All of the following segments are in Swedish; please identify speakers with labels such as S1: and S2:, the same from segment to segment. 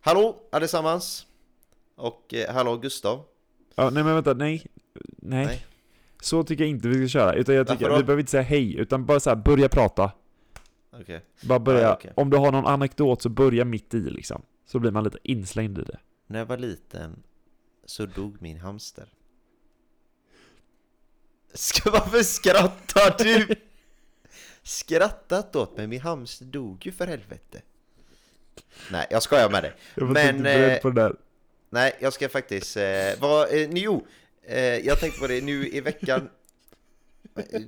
S1: Hallå allesammans! Och eh, hallå Gustav.
S2: Ja, nej men vänta, nej. Nej.
S1: Nej.
S2: Så tycker jag inte vi ska köra, utan jag
S1: Varför
S2: tycker,
S1: då?
S2: vi behöver inte säga hej, utan bara så här, börja prata.
S1: Okej.
S2: Bara börja,
S1: Ja, okej.
S2: om du har någon anekdot så börja mitt i liksom. Så blir man lite inslängd i det.
S1: När jag var liten så dog min hamster. Ska, varför skrattar du? Skrattat åt mig, min hamster dog ju för helvete. Nej, jag skojar med dig.
S2: Jag
S1: Men,
S2: inte beredd
S1: eh,
S2: på det där.
S1: Nej, jag ska faktiskt... Eh, vad, eh, nu, jo, eh, jag tänkte på det nu i veckan.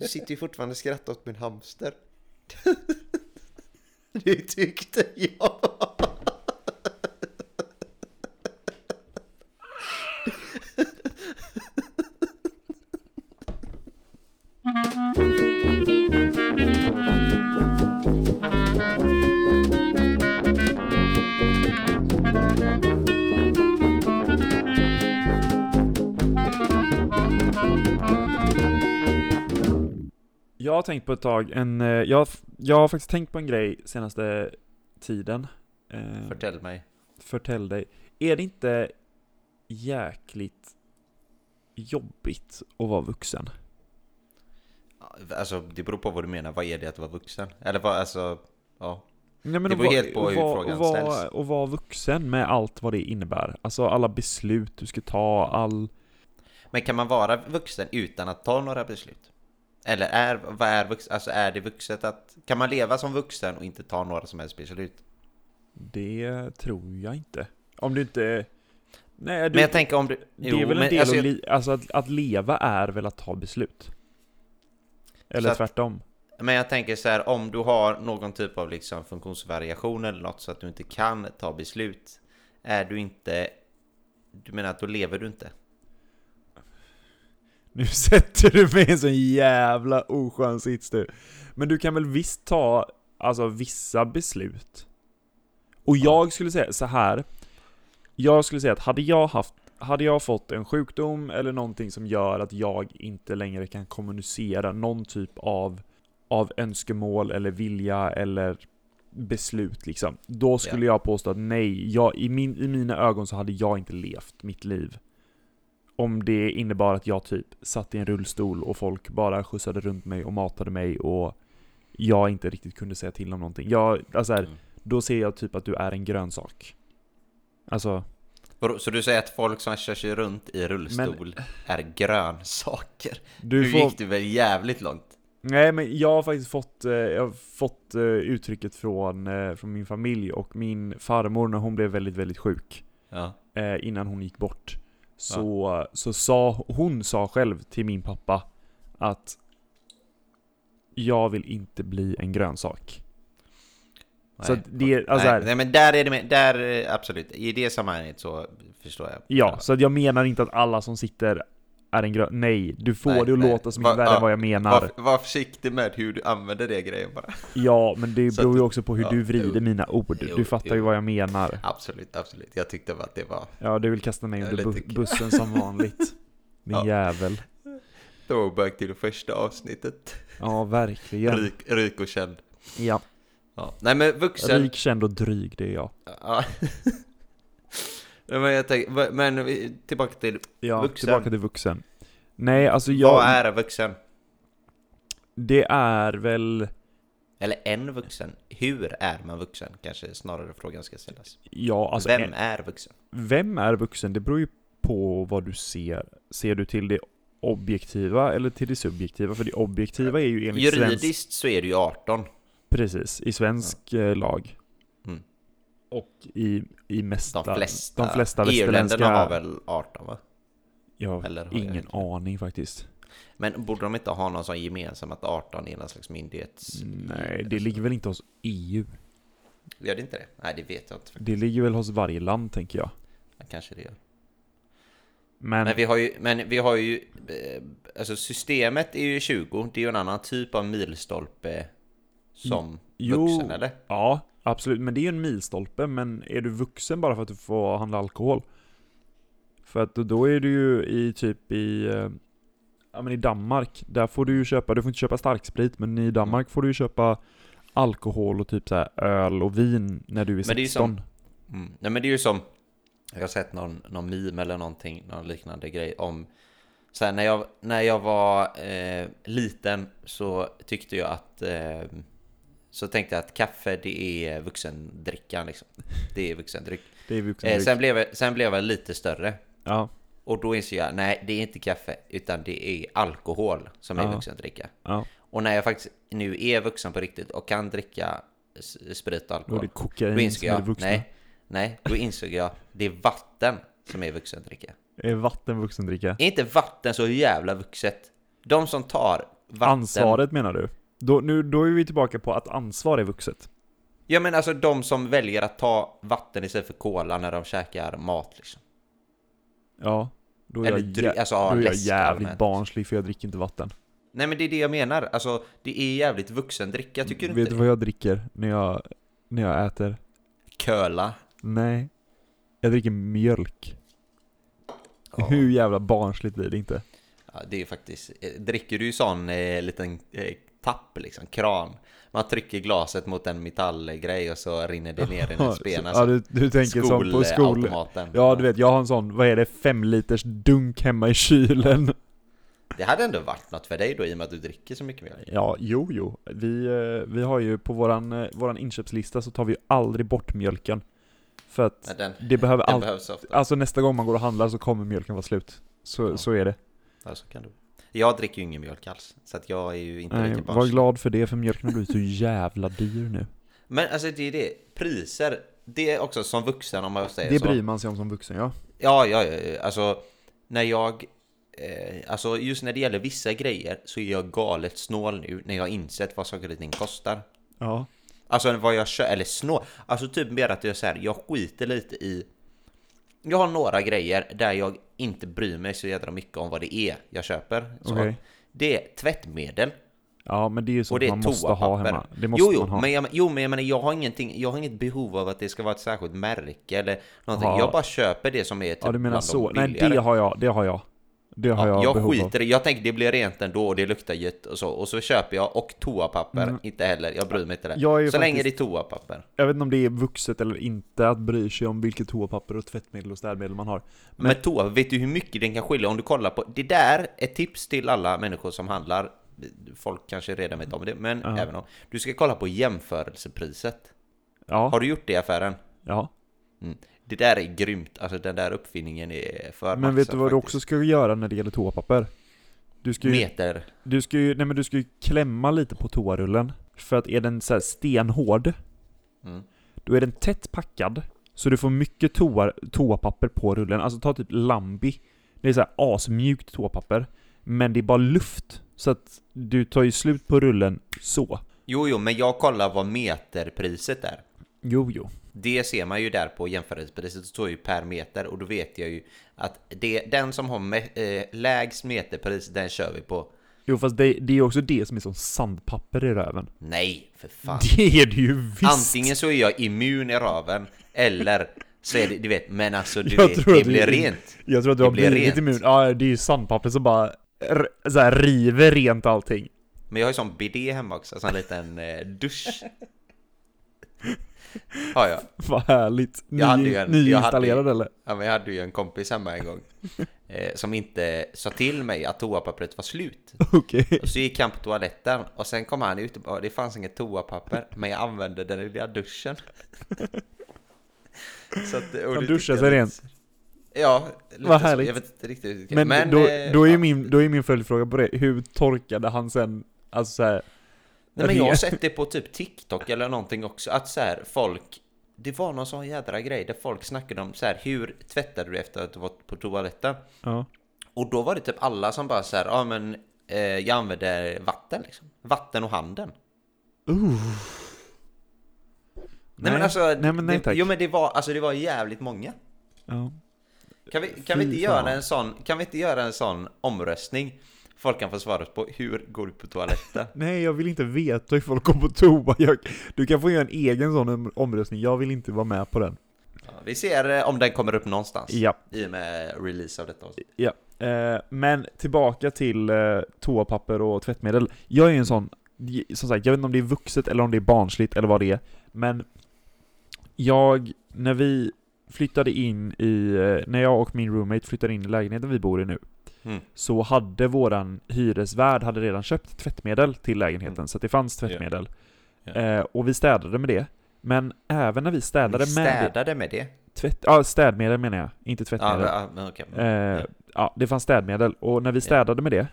S1: Du sitter ju fortfarande och skrattar åt min hamster. Det tyckte jag.
S2: Jag har tänkt på ett tag, en, eh, jag, har f- jag har faktiskt tänkt på en grej senaste tiden. Eh,
S1: Förtäll mig.
S2: förtäll dig. Är det inte jäkligt jobbigt att vara vuxen?
S1: Alltså, det beror på vad du menar. Vad är det att vara vuxen? Eller vad, alltså... Ja.
S2: Nej,
S1: Det
S2: att
S1: beror
S2: vara-
S1: helt på
S2: att
S1: hur
S2: vara-
S1: frågan
S2: att vara-
S1: ställs.
S2: Att vara vuxen med allt vad det innebär. Alltså alla beslut du ska ta, all...
S1: Men kan man vara vuxen utan att ta några beslut? Eller är, vad är vuxet? Alltså, är det vuxet att... Kan man leva som vuxen och inte ta några som helst beslut?
S2: Det tror jag inte. Om du inte... Nej, du,
S1: Men jag tänker om du...
S2: det
S1: jo,
S2: är väl en
S1: men
S2: del
S1: alltså,
S2: att, li... alltså, att, att leva är väl att ta beslut? Eller
S1: Så att-
S2: tvärtom.
S1: Men jag tänker så här, om du har någon typ av liksom funktionsvariation eller något så att du inte kan ta beslut, är du inte... Du menar att då lever du inte?
S2: Nu sätter du mig i en sån jävla oskön sits du. Men du kan väl visst ta, alltså vissa beslut? Och jag skulle säga så här. Jag skulle säga att hade jag haft, hade jag fått en sjukdom eller någonting som gör att jag inte längre kan kommunicera någon typ av, av önskemål eller vilja eller beslut liksom. Då skulle jag påstå att nej, jag, i, min, i mina ögon så hade jag inte levt mitt liv. Om det innebar att jag typ satt i en rullstol och folk bara skjutsade runt mig och matade mig och jag inte riktigt kunde säga till om någonting. Jag, alltså här,
S1: Mm.
S2: då ser jag typ att du är en grönsak. Alltså,
S1: Vadå, Så du säger att folk som kör sig runt i rullstol är grönsaker?
S2: du
S1: nu
S2: får...
S1: gick du väl jävligt långt?
S2: Nej men jag har faktiskt fått, eh, jag har fått eh, uttrycket från, eh, från min familj och min farmor när hon blev väldigt, väldigt sjuk.
S1: Ja.
S2: eh, innan hon gick bort. Så, så sa, hon sa själv till min pappa att jag vill inte bli en grönsak. Så
S1: Nej,
S2: att det, alltså
S1: nej,
S2: här,
S1: nej men där är det med, där eh, absolut, i det sammanhanget så förstår jag.
S2: Ja, så att jag menar inte att alla som sitter är en grön... Nej, du får
S1: Nej,
S2: det att
S1: nej.
S2: låta så
S1: Va-
S2: mycket värre
S1: ja,
S2: än vad jag menar.
S1: Var, var försiktig med hur du använder det grejen bara.
S2: Ja, men det
S1: Så
S2: beror
S1: att-
S2: ju också på hur
S1: ja,
S2: du vrider
S1: jo,
S2: mina ord.
S1: jo,
S2: du fattar ju
S1: jo.
S2: vad jag menar.
S1: Absolut, absolut. Jag tyckte bara att det var...
S2: Ja, du vill kasta mig
S1: Jag
S2: under
S1: är
S2: bu-
S1: lite kul.
S2: bussen som vanligt. Din
S1: Ja.
S2: jävel.
S1: Throwback till det första avsnittet.
S2: Ja, verkligen.
S1: Rik, rik och känd.
S2: Ja.
S1: Ja. Nej men vuxen...
S2: Rik, känd och dryg, det är jag.
S1: Ja. Nej, men jag tänker, va- men vi- tillbaka till,
S2: Ja,
S1: Vuxen.
S2: tillbaka till vuxen. Nej, alltså jag...
S1: vad är en vuxen?
S2: Det är väl...
S1: Eller en vuxen? Hur är man vuxen? Kanske snarare frågan ska ställas.
S2: Ja, alltså...
S1: Vem
S2: en-
S1: är vuxen?
S2: vem är vuxen? Det beror ju på vad du ser. Ser du till det objektiva eller till det subjektiva? För det objektiva är ju enligt svensk...
S1: Juridiskt så är du ju 18.
S2: Precis, i svensk eh, lag.
S1: Mm.
S2: Och i, i mesta...
S1: De flesta,
S2: de flesta
S1: EU-länderna
S2: västerländska...
S1: har väl 18 va?
S2: Jag har
S1: Eller har jag
S2: ingen
S1: inte?
S2: aning faktiskt.
S1: Men borde de inte ha någon sån gemensam att 18 är någon slags myndighets...
S2: Nej, det ligger väl inte hos EU?
S1: Gör det inte det? Nej, det vet jag inte.
S2: Det ligger väl hos varje land, tänker jag.
S1: Kanske det gör.
S2: Men...
S1: Men vi har ju, men vi har ju eh, alltså systemet är ju 20, det är ju en annan typ av milstolpe som
S2: jo.
S1: vuxen eller?
S2: Ja, absolut. Men det är ju en milstolpe. Men är du vuxen bara för att du får handla alkohol? För att då är du ju i typ i... eh, Ja men i Danmark, där får du ju köpa, du får inte köpa starksprit, men i Danmark får du ju köpa alkohol och typ så här öl och vin när du är
S1: Men det är ju
S2: 16.
S1: Mm. Nej men det är ju som, jag har sett någon, någon meme eller någonting, någon liknande grej om så här, när, jag, när jag var eh, liten så tyckte jag att eh, så tänkte jag att kaffe det är vuxendrickan liksom. Det är vuxendryck.
S2: Det är vuxen
S1: Eh, sen, blev jag, sen blev jag lite större
S2: Ja,
S1: och då inser jag nej det är inte kaffe utan det är alkohol som är
S2: Ja.
S1: vuxendricka.
S2: ja.
S1: Och när jag faktiskt nu är vuxen på riktigt och kan dricka s- sprit och
S2: Då är det
S1: alkohol. Då
S2: kokain
S1: insåg
S2: som är det
S1: jag,
S2: vuxna.
S1: nej, nej, då insåg jag, det är vatten som är vuxendricka.
S2: Är vatten vuxendricka?
S1: Är inte vatten så jävla vuxet? De som tar vatten...
S2: Ansvaret menar du? Då, nu, då är vi tillbaka på att ansvar är vuxet.
S1: Ja men alltså de som väljer att ta vatten istället för cola när de käkar mat liksom.
S2: Ja. Då är
S1: Eller
S2: jag,
S1: dry,
S2: jä-
S1: alltså
S2: då
S1: ja,
S2: är jag
S1: läsk
S2: jävligt
S1: allmänt.
S2: barnslig för jag dricker inte vatten.
S1: Nej men det är det jag menar, alltså det är jävligt vuxendricka, tycker du
S2: Vet
S1: inte?
S2: du vad jag dricker när jag, när jag äter?
S1: Köla.
S2: Nej. Jag dricker mjölk.
S1: Ja.
S2: Hur jävla barnsligt blir det inte?
S1: Ja, det är faktiskt, eh, dricker du sån eh, liten eh, tapp liksom, kran? Man trycker glaset mot en metallgrej och så rinner det ner i en spen.
S2: ja,
S1: Alltså,
S2: du, du tänker som på skol...
S1: skolautomaten.
S2: Ja, du vet, jag har en sån, vad är det, fem liters dunk hemma i kylen.
S1: Det hade ändå varit något för dig då i och med att du dricker så mycket mjölk.
S2: Ja, jo, jo. Vi, eh, vi har ju på våran, eh, våran inköpslista så tar vi ju aldrig bort mjölken. För att
S1: Men den,
S2: det behöver
S1: den
S2: alltid...
S1: behövs ofta.
S2: Alltså nästa gång man går och handlar så kommer mjölken vara slut. Så,
S1: Ja.
S2: så är det.
S1: Ja, så kan du. Jag dricker ju ingen mjölk alls, så att jag är ju inte
S2: Nej,
S1: lika
S2: var
S1: barnslig.
S2: glad för det, för mjölken har blivit så jävla dyr nu.
S1: Men alltså det är det, priser, det är också som vuxen om man säger
S2: Det
S1: så.
S2: bryr man sig om som vuxen, ja.
S1: Ja, ja, ja, ja, alltså när jag, eh, alltså just när det gäller vissa grejer så är jag galet snål nu när jag har insett vad saker och ting kostar.
S2: Ja.
S1: Alltså vad jag kör, eller snå. Alltså typ mer att jag så här, jag skiter lite i... Jag har några grejer där jag inte bryr mig så jädra mycket om vad det är jag köper. Så
S2: Okej.
S1: Det är tvättmedel
S2: Ja, men det är ju
S1: och
S2: sånt
S1: det är
S2: man måste ha hemma.
S1: toapapper.
S2: Det måste
S1: jo, jo,
S2: man ha.
S1: men jag, jo, men jag menar, jag har, ingenting, jag har inget behov av att det ska vara ett särskilt märke eller någonting.
S2: Ja.
S1: Jag bara köper det som är typ
S2: ja, du menar
S1: bland
S2: så.
S1: de
S2: Nej,
S1: billigare.
S2: det har jag. Det har jag. Det har
S1: Ja,
S2: jag,
S1: jag
S2: behov av.
S1: skiter i, jag tänker det blir rent ändå och det luktar gött och så. Och så köper jag och toapapper,
S2: Mm.
S1: inte heller, jag bryr mig inte det. Så
S2: Jag är ju
S1: länge det
S2: faktiskt-
S1: är toapapper.
S2: Jag vet inte om det är vuxet eller inte att bry sig om vilket toapapper och tvättmedel och städmedel man har.
S1: Men, toa, vet du hur mycket den kan skilja om du kollar på... Det där är tips till alla människor som handlar. Folk kanske redan vet om det, men
S2: Ja.
S1: även om. Du ska kolla på jämförelsepriset.
S2: Ja,
S1: Har du gjort det i affären?
S2: ja.
S1: Mm. Det där är grymt, alltså den där uppfinningen är för
S2: Men vet
S1: maxad
S2: du vad du
S1: faktiskt.
S2: också ska göra när det gäller toapapper? Du ska ju,
S1: Meter.
S2: du ska ju, nej men du ska ju klämma lite på toarullen. För att är den så här stenhård,
S1: Mm.
S2: då är den tätt packad. Så du får mycket toa, toapapper på rullen. Alltså ta typ Lambi. Det är så här asmjukt toapapper. Men det är bara luft. Så att du tar ju slut på rullen så.
S1: Jo, jo, men jag kollar vad meterpriset är.
S2: Jo, jo.
S1: Det ser man ju där på jämförelsepriset, det står ju per meter och då vet jag ju att det, den som har me- eh, lägst meterpris, den kör vi på.
S2: Jo fast det, det är också det som är som sandpapper i röven.
S1: Nej, för fan.
S2: Det är det ju visst!
S1: Antingen så är jag immun i röven eller så är det, du vet, men alltså du
S2: Jag
S1: vet,
S2: tror
S1: det
S2: att du-
S1: blir rent.
S2: Jag tror att du
S1: Det
S2: har
S1: blir
S2: blivit
S1: rent.
S2: immun. Ja, det är ju sandpapper som bara r- så här, river rent allting.
S1: Men jag har ju sån bidé hemma också, sån liten eh, dusch. Ja, ja.
S2: Vad härligt. Ny,
S1: Jag hade ju en- jag hade ju-
S2: nyinstallerad eller?
S1: ja, men jag hade ju en kompis hemma en gång eh, som inte sa till mig att toapappret var slut.
S2: Okej.
S1: Och så gick han på toaletten och sen kom han ut och bara, det fanns inget toapapper men jag använde den i lilla duschen. Så att, och
S2: Han
S1: det
S2: duschar
S1: tyckte jag
S2: sig
S1: var-
S2: rent.
S1: Ja, lite
S2: Vad
S1: så.
S2: härligt.
S1: Jag vet inte riktigt hur det
S2: Men,
S1: men
S2: då,
S1: eh,
S2: då, är
S1: ja.
S2: ju min, då är min följdfråga på det, hur torkade han sen, alltså så här,
S1: Nej, men jag har
S2: re-
S1: sett det på typ TikTok eller någonting också, att så här folk det var någon sån jädra grej där folk snackade om så här, hur tvättade du efter att du varit på toaletten?
S2: Ja.
S1: Och då var det typ alla som bara så här, ja men eh, jag använder vatten liksom. Vatten och handen. Nej, men alltså,
S2: nej, men nej
S1: det,
S2: tack.
S1: jo men det var, alltså det var jävligt många.
S2: Ja.
S1: Kan vi, kan vi
S2: Fy
S1: inte
S2: fan.
S1: göra en sån, kan vi inte göra en sån omröstning? Folk kan få svaret på hur går du på toaletten?
S2: Nej, jag vill inte veta hur folk går på toa. Jag, du kan få göra en egen sån om- omröstning, jag vill inte vara med på den.
S1: ja, vi ser eh, om den kommer upp någonstans.
S2: Ja.
S1: I och med release av detta avsnitt.
S2: Ja, eh, men tillbaka till eh, toapapper och tvättmedel. Jag är ju en sån, som sagt, jag vet inte om det är vuxet eller om det är barnsligt eller vad det är, men jag, när vi flyttade in i, eh, när jag och min roommate flyttade in i lägenheten vi bor i nu,
S1: Mm.
S2: så hade våran hyresvärd hade redan köpt tvättmedel till lägenheten,
S1: Mm.
S2: så att det fanns tvättmedel.
S1: Ja.
S2: Eh, och vi städade med det. Men även när vi städade
S1: Ni
S2: med det,
S1: städade med det?
S2: tvätt, ja, städmedel menar jag, inte
S1: Ja,
S2: tvättmedel.
S1: ja, men okej.
S2: Eh, ja, det fanns städmedel och när vi städade med det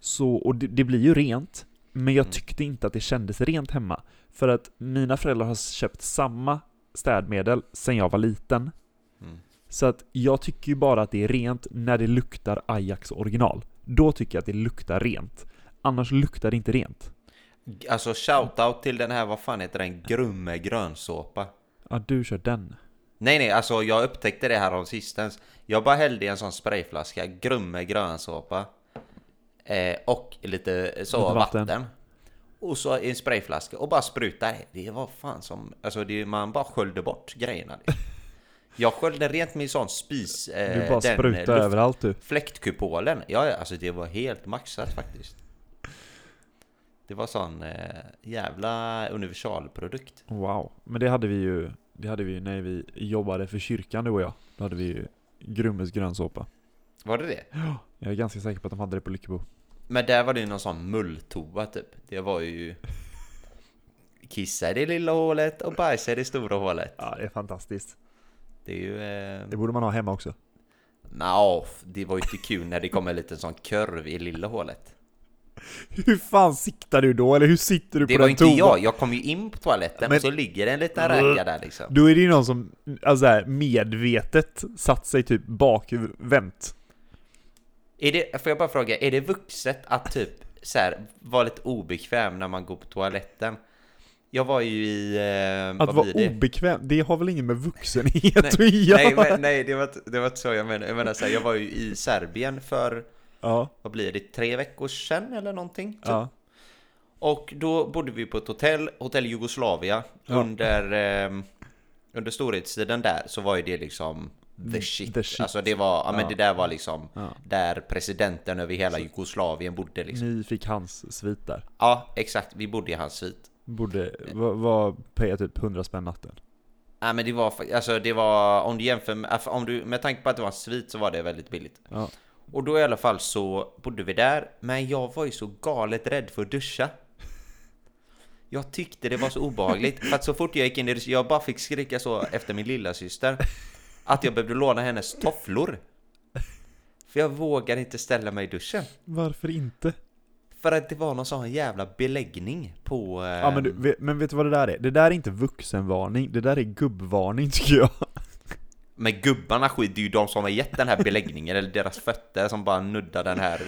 S2: så, och det, det blir ju rent, men jag
S1: Mm.
S2: tyckte inte att det kändes rent hemma. För att mina föräldrar har köpt samma städmedel sedan jag var liten.
S1: Mm.
S2: Så att jag tycker ju bara att det är rent när det luktar Ajax original. Då tycker jag att det luktar rent. Annars luktar det inte rent. Eh.
S1: Alltså shoutout till den här, vad fan heter den? Grumme grönsåpa.
S2: Ja, du kör den.
S1: Nej nej, alltså jag upptäckte det här om sistens. Jag bara hällde i en sån sprayflaska, Grumme grönsåpa. Eh, och lite eh, så
S2: Lite vatten.
S1: vatten. Och så i en sprayflaska och bara sprutade. Det var fan som, alltså det, man bara sköljde bort grejerna. Jag sköljde rent min sån spis...
S2: Du
S1: Eh,
S2: bara
S1: den, eh,
S2: sprutar
S1: luft-
S2: överallt du.
S1: Fläktkupolen, ja ja, alltså det var helt maxat faktiskt. Det var sån eh, jävla universalprodukt.
S2: Wow. Men det hade vi ju, det hade vi ju när vi jobbade för kyrkan du och jag. Då hade vi ju Grummes grönsåpa.
S1: Var det det?
S2: Jag är ganska säker på att de hade det på Lyckebo.
S1: Men där var det ju någon sån mulltoa typ. Det var ju... Kissa i det lilla hålet och bajsa i det stora hålet.
S2: Ja, det är fantastiskt.
S1: Det är ju... Eh...
S2: Det borde man ha hemma också.
S1: Nja, det var ju inte kul när det kom en liten sån kurv i lilla hålet.
S2: Hur fan siktar du då? Eller hur sitter du
S1: Det
S2: på
S1: var ju
S2: den
S1: inte
S2: toan?
S1: jag, jag kom ju in på toaletten
S2: Men-
S1: och så ligger det en liten räka där liksom.
S2: Då är det ju någon som alltså här, medvetet satt sig typ bakvänt.
S1: Är det, får jag bara fråga, är det vuxet att typ så här, vara lite obekväm när man går på toaletten? Jag var ju i... Eh,
S2: Att
S1: vad
S2: vara
S1: blir det?
S2: obekväm, det har väl ingen med vuxenhet att
S1: Nej,
S2: göra?
S1: men, nej det, var, inte- det var inte så jag menade. Jag menar så här, jag var ju i Serbien för,
S2: Ja,
S1: vad blir det, tre veckor sedan eller någonting? typ.
S2: ja.
S1: Och då bodde vi på ett hotell, Hotell Jugoslavia.
S2: Ja.
S1: Under, ehm, under storhetstiden där så var ju det liksom the shit.
S2: the shit.
S1: Alltså det var, ja men
S2: Ja.
S1: det där var liksom
S2: Ja.
S1: där presidenten över hela Jugoslavien bodde liksom.
S2: Ni fick hans svit där.
S1: Ja, exakt. Vi bodde i hans svit.
S2: Borde vara var paya typ 100 spänn natten.
S1: Nej men det var, fa- alltså det var, om du jämför med, alltså om du, med tanke på att det var en svit så var det väldigt billigt.
S2: Ja.
S1: Och då i alla fall så bodde vi där, men jag var ju så galet rädd för att duscha. Jag tyckte det var så obehagligt, för att så fort jag gick in i duschen, jag bara fick skrika så efter min lilla syster Att jag behövde låna hennes tofflor. För jag vågade inte ställa mig i duschen.
S2: Varför inte?
S1: För att det var någon sån jävla beläggning på... eh,
S2: Ja, men,
S1: Ehm.
S2: du, ve- men vet du vad det där är? Det där är inte vuxenvarning, det där är gubbvarning tycker jag.
S1: Men gubbarna skiter ju i de som har gett den här beläggningen eller deras fötter som bara nuddar den här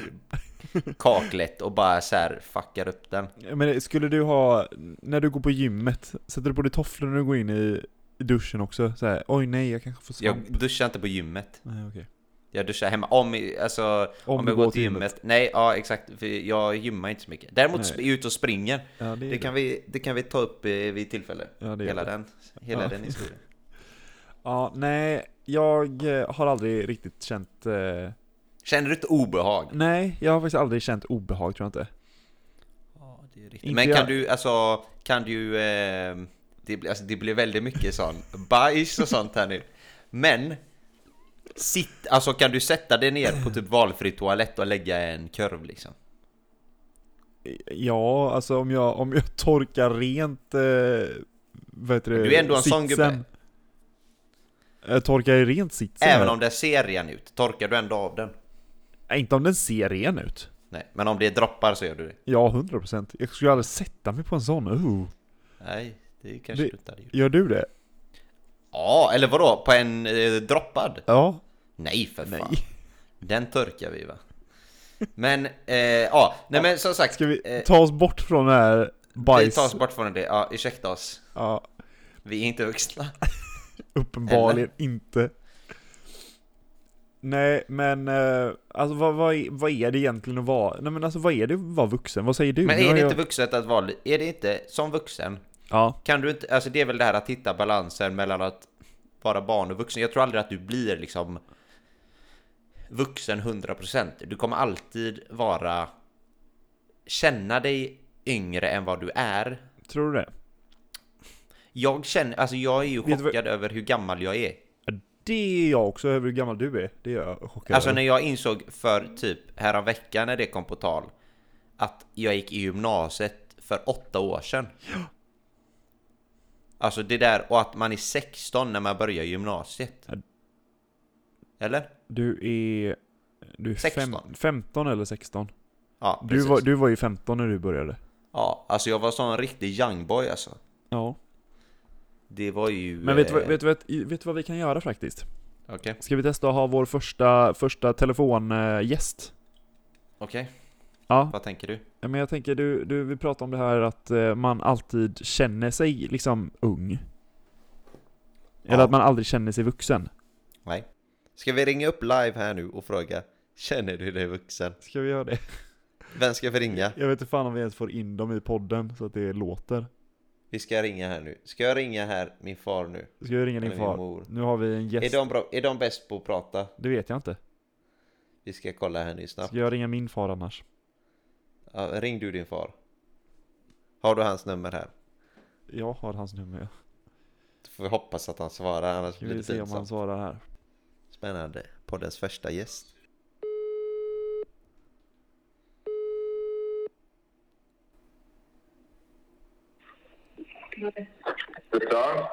S1: kaklet och bara så här fuckar upp den.
S2: Ja, Men skulle du ha, när du går på gymmet, sätter du på dig tofflor när du går in i i duschen också? Så här, oj nej, jag kanske får svamp.
S1: Jag duschar inte på gymmet.
S2: Nej, okej.
S1: Jag duschar hemma. Om, alltså, om,
S2: du
S1: jag går till gymmet. Nej, ja exakt. För jag gymmar inte så mycket. Däremot
S2: Nej.
S1: sp- är jag ute och springer.
S2: Ja, det, är
S1: Det kan vi, det kan vi ta upp eh, vid tillfälle.
S2: ja, det är
S1: Hela
S2: det.
S1: den, hela
S2: Ja.
S1: den historien.
S2: Ja, nej, jag eh, har aldrig riktigt känt, eh,
S1: Känner du ett obehag?
S2: nej, jag har faktiskt aldrig känt obehag tror jag inte.
S1: Ja, det är riktigt.
S2: Inte
S1: Men
S2: jag.
S1: kan du, alltså, kan du... Eh, det, blir- alltså, det blir väldigt mycket sån bajs och sånt här nu. Men! Sitt, alltså kan du sätta dig ner på typ valfri toalett och lägga en kurv liksom?
S2: Ja, alltså om jag, om jag torkar rent, eh, vad heter det,
S1: Du är ändå en sån gubbe.
S2: Jag torkar ju rent sitsen.
S1: Även
S2: här.
S1: om den ser ren ut, torkar du ändå av den?
S2: Nej, Inte om den ser ren ut.
S1: Nej, men om det är droppar så gör du det?
S2: Ja, 100%. Jag skulle aldrig sätta mig på en sån. Oh.
S1: Nej, det kanske
S2: Det-
S1: du inte hade gjort.
S2: Gör du det?
S1: Ja, eller vadå? På en eh, droppad?
S2: Ja.
S1: Nej för fan. Den torkar vi va? Men, eh, ja, nej men som sagt.
S2: Ska vi
S1: eh,
S2: ta oss bort från det här
S1: Vi
S2: bajs?
S1: tar oss bort från det, ja ursäkta oss.
S2: Ja,
S1: Vi är inte vuxna.
S2: uppenbarligen inte. Nej, men eh, alltså vad, vad, är, vad är det egentligen att vara? Nej men alltså vad är det att vara vuxen? Vad säger du?
S1: Men
S2: Nu
S1: är
S2: har
S1: det
S2: jag-
S1: inte vuxet att vara... Är det inte, som vuxen,
S2: Ja.
S1: kan du inte... Alltså det är väl det här att hitta balansen mellan att vara barn och vuxen. Jag tror aldrig att du blir liksom vuxen 100%. Du kommer alltid vara... Känna dig yngre än vad du är.
S2: Tror du det?
S1: Jag känner, alltså jag är ju
S2: Vet du vad-
S1: chockad över hur gammal jag är.
S2: Det är jag också, över hur gammal du är. Det är jag chockad
S1: Alltså
S2: över.
S1: när jag insåg för typ häromveckan när det kom på tal att jag gick i gymnasiet för åtta år sedan. Alltså det där och att man är 16 när man börjar gymnasiet.
S2: Ja.
S1: Eller?
S2: Du är... Du är Fem,
S1: 16.
S2: 15 eller 16?
S1: Ja,
S2: Du
S1: precis.
S2: var, du var ju 15 när du började.
S1: Ja, alltså jag var sån en riktig youngboy alltså.
S2: Ja.
S1: Det var ju...
S2: Men vet du, vad-
S1: eh,
S2: vet, du, vet, vet du vad vi kan göra faktiskt?
S1: Okej,
S2: Ska vi testa att ha vår första, första telefongäst?
S1: okej.
S2: Ja,
S1: Vad tänker du?
S2: Ja, Men jag tänker, du, du vi pratade om det här att eh, man alltid känner sig liksom ung. Eller
S1: Ja.
S2: att man aldrig känner sig vuxen.
S1: Nej. Ska vi ringa upp live här nu och fråga Känner du dig vuxen?
S2: Ska vi göra det?
S1: Vem ska vi ringa?
S2: Jag vet inte fan om vi ens får in dem i podden så att det låter.
S1: Vi ska ringa här nu. Ska jag ringa här min far nu?
S2: Ska vi ringa din
S1: Eller min
S2: far?
S1: mor?
S2: Nu har vi en
S1: Är
S2: gäst.
S1: de, bra, är de bäst på att prata?
S2: Det vet jag inte.
S1: Vi ska kolla här nu snabbt.
S2: Ska jag ringa min far annars?
S1: Ja, ring du din far. Har du hans nummer här?
S2: Jag har hans nummer. ja.
S1: Du får vi hoppas att han svarar, annars
S2: Ska
S1: blir
S2: vi
S1: det
S2: se om han
S1: pinsamt.
S2: svarar här.
S1: Spännande. Poddens första
S2: Eh,
S1: gäst.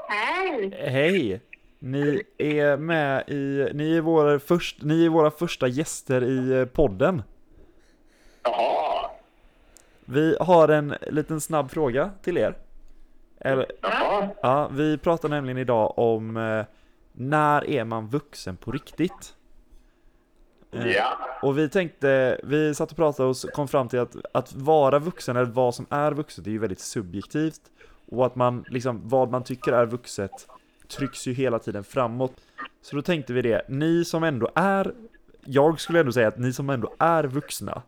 S3: Hej!
S2: Hej! Ni är med i, ni är våra, först, ni är våra första gäster i eh, podden.
S3: Jaha,
S2: Vi har en liten snabb fråga till er. Eller,
S3: jaha.
S2: ja, vi pratar nämligen idag om eh, när är man vuxen på riktigt? Eh,
S3: Ja,
S2: Och vi tänkte, vi satt och pratade och kom fram till att, att vara vuxen eller vad som är vuxet är ju väldigt subjektivt. Och att man, liksom, vad man tycker är vuxet trycks ju hela tiden framåt. Så då tänkte vi det, ni som ändå är, jag skulle ändå säga att ni som ändå är vuxna,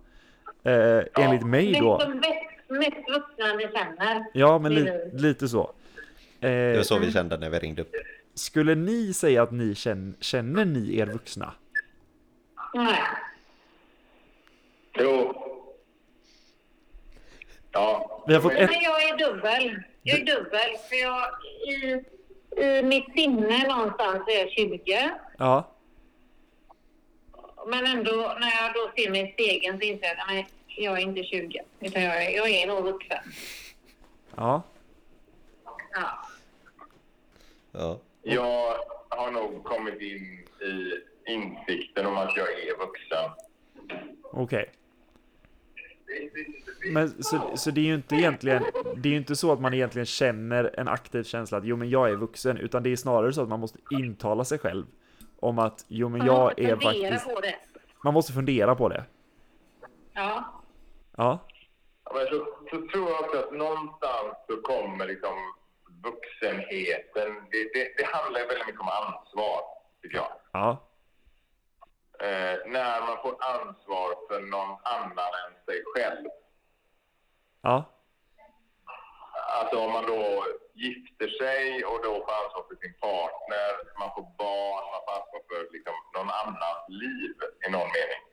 S2: eh, enligt mig då.
S3: Mest, mest, mest vuxna ni känner.
S2: Ja, men li-
S3: Precis.
S2: lite så.
S1: Det var
S2: Eh,
S1: så vi kände när vi ringde upp.
S2: skulle ni säga att ni känner, känner ni er vuxna?
S3: Nej.
S4: Jo. Ja.
S2: Vi har fått ett...
S3: Men jag är dubbel. Jag är dubbel. För jag, i, i mitt sinne någonstans är jag 20.
S2: Ja.
S3: Men ändå, när jag då ser mig i spegeln så inser jag att nej, jag är inte 20. Utan jag är, jag är nog vuxen.
S2: Ja.
S3: Ja.
S1: Ja.
S4: Jag har nog kommit in i insikten om att jag är vuxen.
S2: Okej. Men så, så det är ju inte egentligen, det är ju inte så att man egentligen känner en aktiv känsla att jo men jag är vuxen, utan det är snarare så att man måste intala sig själv om att jo men
S3: Man
S2: jag
S3: måste
S2: är
S3: fundera
S2: faktiskt,
S3: på det.
S2: man måste fundera på det.
S3: Ja.
S2: Ja.
S4: Ja, Men så, så tror jag också att någonstans så kommer liksom vuxenheten. Det, det, det handlar ju väldigt mycket om ansvar, tycker jag.
S2: Ja.
S4: Eh, när man får ansvar för någon annan än sig själv.
S2: Ja.
S4: Alltså om man då gifter sig och då får ansvar för sin partner, man får barn, man får ansvar för liksom någon annans liv i någon mening.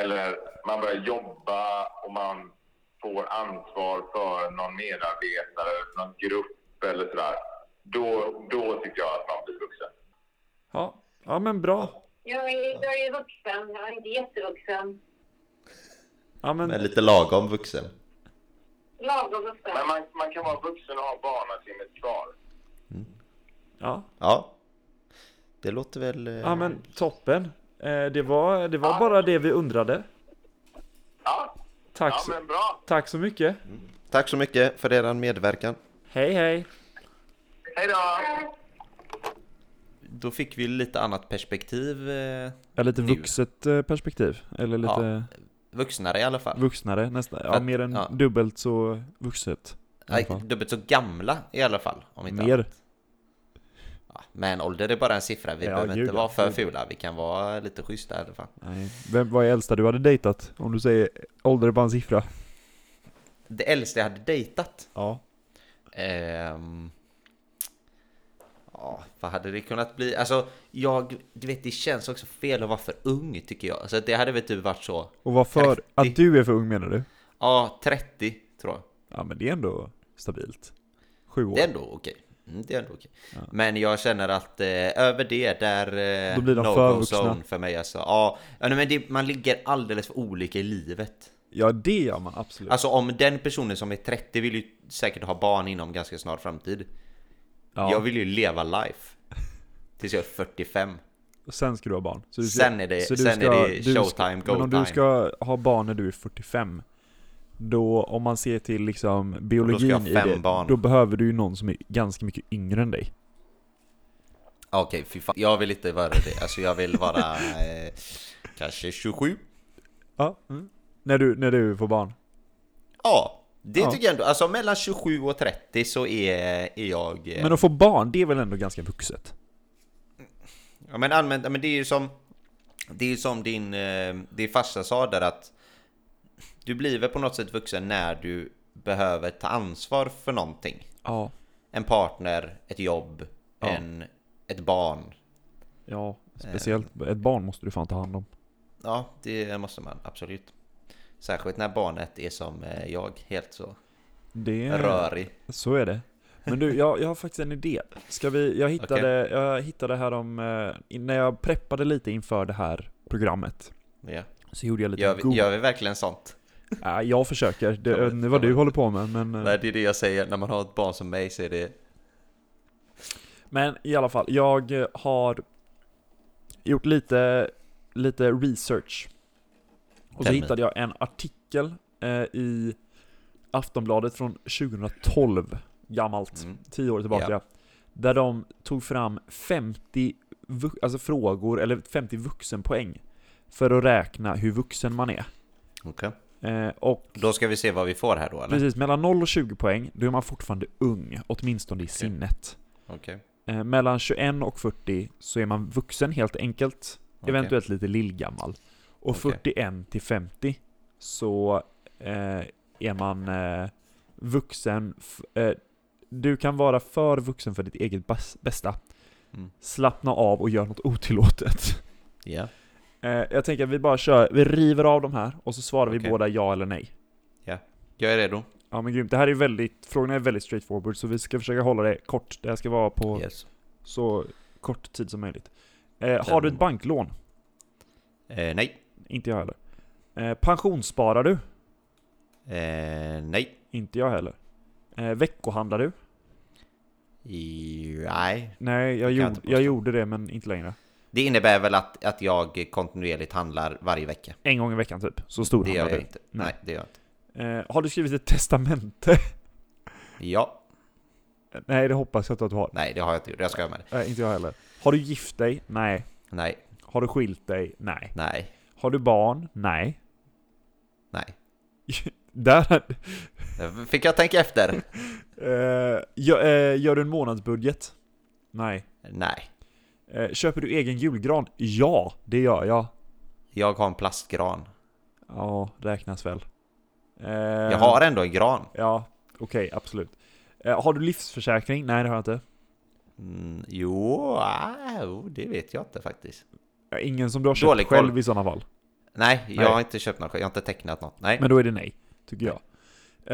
S4: Eller man börjar jobba och man får ansvar för någon medarbetare, för någon grupp eller sådär. Då, då tycker jag att man blir vuxen.
S2: Ja. Ja men bra.
S3: Jag är, jag är vuxen. Jag är inte jättevuxen.
S2: Ja men,
S1: Men lite lagom vuxen.
S3: Lagom vuxen.
S4: Men man, man kan vara vuxen och ha barnasinnet kvar.
S2: ja.
S1: Ja. Det låter väl... eh,
S2: Ja men toppen. Eh, Det var, det var bara det vi undrade.
S4: Ja,
S2: Tack
S4: ja
S2: så,
S4: men bra.
S2: tack så mycket.
S1: Tack så mycket för er medverkan.
S2: Hej hej.
S4: Hej då!
S1: Då fick vi lite annat perspektiv. eh,
S2: Ja, lite
S1: Nu.
S2: vuxet eh, perspektiv. Eller lite
S1: Vuxnare i alla fall.
S2: vuxnare nästan. Ja,
S1: För-
S2: mer än
S1: ja.
S2: dubbelt så vuxet. i alla
S1: Nej,
S2: fall.
S1: dubbelt så gamla i alla fall. Om inte
S2: Mer.
S1: annat. Ja, men ålder är bara en siffra. Vi
S2: Ja,
S1: behöver
S2: gud,
S1: inte vara
S2: ja.
S1: för
S2: Gud.
S1: fula. Vi kan vara lite schyssta i alla fall.
S2: Nej. Vem, vad är äldsta du hade dejtat? Om du säger ålder på en siffra.
S1: Det äldsta jag hade dejtat.
S2: Ja.
S1: Ehm... Ja, vad hade det kunnat bli? Alltså, jag... Du vet, det känns också fel att vara för ung tycker jag. Så att det hade väl typ varit så.
S2: Och varför?
S1: 30.
S2: Att du är för ung menar du?
S1: Ja, 30 tror jag.
S2: Ja men det är ändå stabilt. sju år.
S1: Det är ändå okej. Mm, det är ändå okej. Men jag känner att eh, över det där... Eh,
S2: Då blir de
S1: no-go
S2: för vuxna.
S1: zone för mig alltså. Ja, ja, nej, men det, man ligger alldeles för olika i livet.
S2: Ja, det gör man absolut.
S1: Alltså om den personen som är 30 vill ju säkert ha barn inom ganska snar framtid.
S2: Ja.
S1: Jag vill ju leva life. Tills jag är 45.
S2: Och sen ska du ha barn. Så du
S1: Sen är det- sen är det showtime,
S2: Men
S1: go
S2: om
S1: time.
S2: du ska ha barn när du är 45, då om man ser till liksom biologin
S1: ha fem
S2: i det,
S1: barn.
S2: då behöver du ju någon som är ganska mycket yngre än dig.
S1: Ja, Okej, fy fan. Jag vill inte vara det. Alltså jag vill vara eh, kanske 27.
S2: Ja. Mm. När, du, när du får barn.
S1: Ja, det
S2: Ja.
S1: tycker jag ändå. Alltså mellan 27 och 30 så är, är jag... eh,
S2: Men att få barn, det är väl ändå ganska vuxet?
S1: Ja men allmänt, ja, men det är ju som Det är ju som din, eh, din farsa sa där att Du blir väl på något sätt vuxen när du behöver ta ansvar för någonting
S2: Ja.
S1: En partner, ett jobb,
S2: Ja.
S1: en, ett barn
S2: Ja, speciellt ett barn måste du fan ta hand om.
S1: Ja, det måste man absolut Särskilt när barnet är som eh, jag, helt så
S2: Det
S1: rörig
S2: Så är det. Men du, jag, jag har faktiskt en idé. Ska vi, jag hittade, jag hittade här om, eh, in- när jag preppade lite inför det här programmet,
S1: ja.
S2: så gjorde jag lite
S1: gör, vi,
S2: Google-
S1: gör vi verkligen sånt?
S2: Ja, jag försöker. Det, jag vet inte vad du håller på med. Men, eh,
S1: Nej, det är det jag säger, när man har ett barn som mig så är det
S2: men i alla fall, jag eh, har gjort lite, lite research. Och så
S1: Tell me.
S2: hittade jag en artikel eh, i Aftonbladet från 2012, gammalt,
S1: Mm.
S2: tio år tillbaka. Där de tog fram 50 vu- alltså frågor, eller 50 vuxenpoäng, för att räkna hur vuxen man är.
S1: Okej
S2: Eh, och
S1: Då ska vi se vad vi får här då eller?
S2: Precis, mellan 0 och 20 poäng, då är man fortfarande ung, åtminstone i sinnet.
S1: Okej
S2: Eh, mellan 21 och 40 så är man vuxen helt enkelt,
S1: Okej.
S2: eventuellt lite lillgammal. Och
S1: Okej.
S2: 41 till 50 så eh, är man eh, vuxen. F- eh, du kan vara för vuxen för ditt eget bas- bästa.
S1: Mm.
S2: Slappna av och gör något otillåtet.
S1: Ja
S2: Eh, jag tänker att vi bara kör, vi river av de här och så svarar vi
S1: Okej.
S2: båda ja eller nej.
S1: Jag är redo.
S2: Ja men grymt, det här är väldigt, frågorna är väldigt straightforward så vi ska försöka hålla det kort. Det här ska vara på
S1: Yes.
S2: så kort tid som möjligt. Eh, har du ett banklån?
S1: Eh, nej.
S2: Inte jag heller. Eh, pensionssparar du?
S1: Eh, nej.
S2: Inte jag heller. Eh, veckohandlar du?
S1: I, nej.
S2: Nej, jag,
S1: jag
S2: gjorde,
S1: inte påstå.
S2: jag gjorde det men inte längre.
S1: Det innebär väl att, att jag kontinuerligt handlar varje vecka.
S2: En gång i veckan typ, så
S1: Det gör
S2: storhandlar
S1: jag
S2: du.
S1: inte.
S2: Nej.
S1: Nej, det gör jag inte.
S2: Eh, har du skrivit ett testamente?
S1: Ja.
S2: Nej, det hoppas jag inte att du har.
S1: Nej, det har jag inte gjort. Jag ska med det.
S2: Eh, inte jag heller. Har du gift dig? Nej.
S1: Nej.
S2: Har du skilt dig? Nej.
S1: Nej.
S2: Har du barn? Nej.
S1: Nej.
S2: Där,
S1: Där Fick jag tänka efter?
S2: Eh, gör, eh, gör du en månadsbudget? Nej.
S1: Nej.
S2: Eh, köper du egen julgran? Ja, det gör jag.
S1: Jag har en plastgran.
S2: Ja, räknas väl. Eh,
S1: Jag har ändå en gran.
S2: Ja, okej, absolut. Eh, har du livsförsäkring? Nej, det har jag inte.
S1: Mm, jo, ah, jo, det vet jag inte faktiskt.
S2: Eh, Ingen som du har köpt
S1: Dålig koll.
S2: själv i sådana fall.
S1: Nej, jag
S2: Nej.
S1: har inte köpt något. Jag har inte tecknat något. Nej.
S2: Men då är det nej, tycker jag.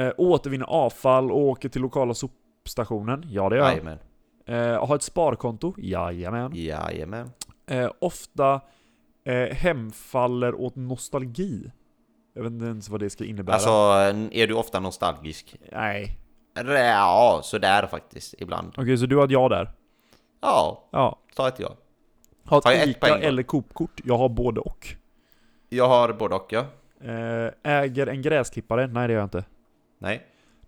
S2: Eh, återvinner avfall och åker till lokala sopstationen? Ja, det gör jag.
S1: Jajamän.
S2: Eh, har ett sparkonto? Jajamän.
S1: Jajamän.
S2: eh, ofta eh, hemfaller åt nostalgi. Jag vet inte ens vad det ska innebära.
S1: Alltså, är du ofta nostalgisk?
S2: Nej.
S1: Ja, sådär faktiskt. Ibland.
S2: Okej, så du har ett ja där?
S1: Ja,
S2: Ja.
S1: Ta ett ja.
S2: Har ett
S1: Har jag ett
S2: Ica
S1: poäng då?
S2: eller Coop-kort? Jag har både och.
S1: Jag har både och ja.
S2: Eh, äger en gräsklippare? Nej, det gör jag inte.
S1: Nej.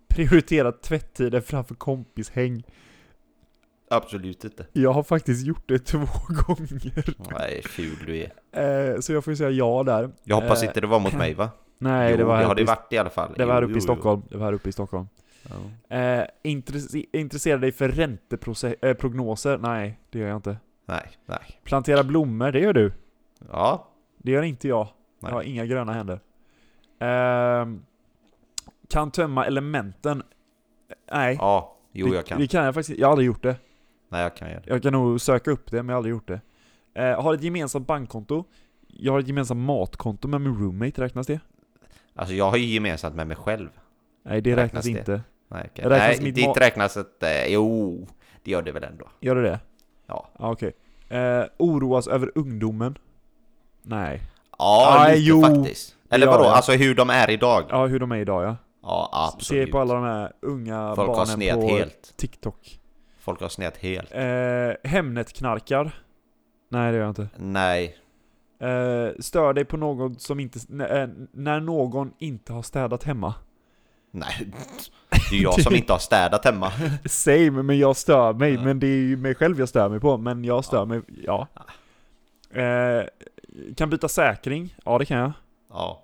S2: Prioriterar tvättider framför kompishäng?
S1: Absolut inte.
S2: Jag har faktiskt gjort det två gånger.
S1: Nej, ful du är.
S2: Eh, så jag får ju säga ja där.
S1: Jag hoppas
S2: Eh,
S1: inte det var mot mig va?
S2: Nej,
S1: jo,
S2: det var här
S1: har
S2: uppe
S1: det
S2: i,
S1: varit i alla fall.
S2: det var här
S1: Jo,
S2: uppe
S1: jo,
S2: i
S1: jo.
S2: Stockholm. Det var här uppe i Stockholm.
S1: Ja.
S2: Eh, intresse- intresserar dig för ränteprognoser? nej, det gör jag inte.
S1: Nej, nej.
S2: Plantera blommor, det gör du.
S1: Ja.
S2: Det gör inte jag.
S1: Nej.
S2: Jag har inga gröna händer. Ehm, kan tömma elementen? Nej.
S1: Ja. Jo,
S2: det,
S1: jag kan.
S2: Det kan jag faktiskt Jag har aldrig gjort det.
S1: Nej, jag kan göra det.
S2: Jag kan nog söka upp det, men jag har aldrig gjort det. Eh, har ett gemensamt bankkonto. Jag har ett gemensamt matkonto med min roommate, räknas det?
S1: Alltså jag har ju gemensamt med mig själv.
S2: Nej, det räknas,
S1: Räknas det?
S2: inte.
S1: Nej, okej.
S2: Räknas
S1: Nej
S2: mitt
S1: ditt
S2: ma-
S1: räknas inte. Jo, det gör det väl ändå.
S2: Gör det det?
S1: Ja.
S2: Ja, okej. Eh, oroas över ungdomen? Nej.
S1: Ja,
S2: Nej,
S1: lite
S2: jo.
S1: faktiskt. Eller
S2: Ja,
S1: vadå?
S2: ja.
S1: Alltså hur de är idag?
S2: Ja, hur de är idag ja.
S1: Ja, absolut.
S2: Se på alla de här unga
S1: Folk har
S2: barnen
S1: snett
S2: på
S1: helt.
S2: TikTok.
S1: Folk har snett helt.
S2: Eh, Hemnet-knarkar? Nej, det gör jag inte.
S1: Nej.
S2: Eh, stör dig på någon som inte... nä- eh, när någon inte har städat hemma?
S1: Nej. Det är jag som inte har städat hemma.
S2: Same, men jag stör mig. Men det är ju mig själv jag stör mig på. Men jag stör mig, ja. Eh, kan byta säkring? Ja, det kan jag.
S1: Ja.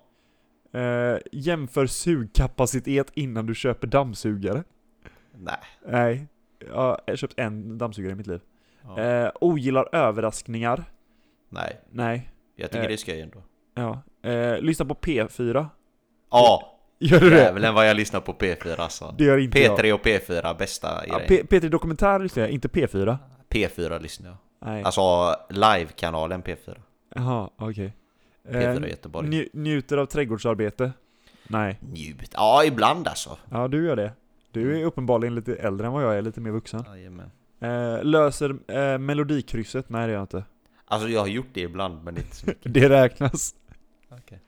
S2: Eh, jämför sugkapacitet innan du köper dammsugare.
S1: Nej.
S2: Nej, jag har köpt en dammsugare i mitt liv.
S1: Ja.
S2: Eh, ogillar överraskningar.
S1: Nej.
S2: Nej.
S1: Jag tycker
S2: Eh.
S1: det är skoj ändå.
S2: Ja. Eh, lyssna på P4.
S1: Ja.
S2: Gör du det?
S1: Jävlar vad jag lyssnar på P4 alltså.
S2: Det gör inte jag.
S1: P3 och P4, bästa
S2: Ja,
S1: grejen.
S2: P- P3 Dokumentär lyssnar jag, inte P4.
S1: P4 lyssnar jag.
S2: Nej.
S1: Alltså live-kanalen P4.
S2: Jaha, okej. Eh,
S1: P4 Göteborg.
S2: nju- njuter av trädgårdsarbete? Nej.
S1: Njut. Ja, ibland alltså.
S2: Ja, du gör det. Du är uppenbarligen lite äldre än vad jag är, lite mer vuxen.
S1: Jajamän.
S2: Eh, löser eh, melodikrysset? Nej, det gör jag inte.
S1: Alltså jag har gjort det ibland men inte så mycket.
S2: Det räknas.
S1: Okej.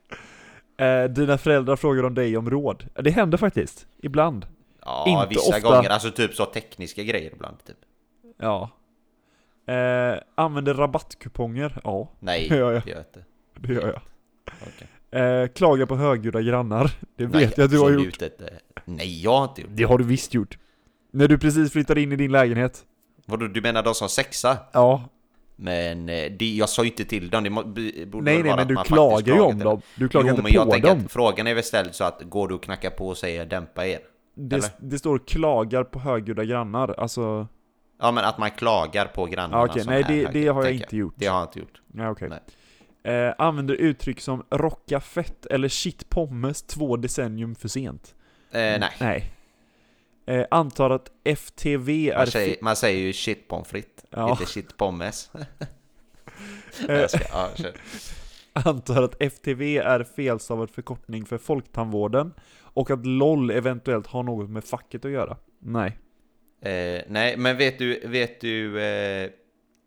S2: Eh, dina föräldrar frågar om dig om råd. Det händer faktiskt. Ibland.
S1: Ja,
S2: Inte
S1: vissa
S2: ofta.
S1: gånger. Alltså typ så tekniska grejer ibland typ.
S2: Ja. Eh, använder rabattkuponger? Ja,
S1: Nej,
S2: Ja, ja.
S1: det gör jag inte.
S2: det gör jag.
S1: Okej.
S2: Eh, klagar på högljudda grannar? Det vet
S1: Nej,
S2: jag att du har gjort.
S1: absolut Inte. Nej, jag har inte gjort det.
S2: Det har du visst gjort. När du precis flyttade in i din lägenhet?
S1: Vadå, du menar de som sexa?
S2: Ja.
S1: Men eh, det, jag sa ju inte till dem. Det må- b- borde
S2: Nej,
S1: väl
S2: nej,
S1: vara
S2: men
S1: att
S2: du
S1: man faktiskt
S2: klagar ju
S1: klagar
S2: om
S1: till
S2: dem. Du klagar
S1: jo,
S2: inte
S1: men jag
S2: på
S1: tänker
S2: dem.
S1: Att frågan är väl ställd så att går du och knackar på och säger dämpa er?
S2: Det,
S1: eller?
S2: det står klagar på högljudda grannar. Alltså,
S1: Ja men att man klagar på grannarna
S2: Ja, okej.
S1: som
S2: Nej,
S1: är
S2: det-
S1: högt,
S2: det har jag
S1: tänker
S2: inte gjort.
S1: Det har jag inte gjort.
S2: nej okej. Eh, använder uttryck som rocka fett eller shit pommes två decennium för sent. Mm.
S1: Eh, nej.
S2: Nej. Eh, antar att FTV är...
S1: Man säger, man säger ju shit pommes frites,
S2: Ja.
S1: inte shit pommes. Nej,
S2: Eh,
S1: jag skojar. ja, kör.
S2: antar att FTV är felstavad förkortning för Folktandvården och att LOL eventuellt har något med facket att göra. Nej.
S1: eh, nej, men vet du, vet du eh,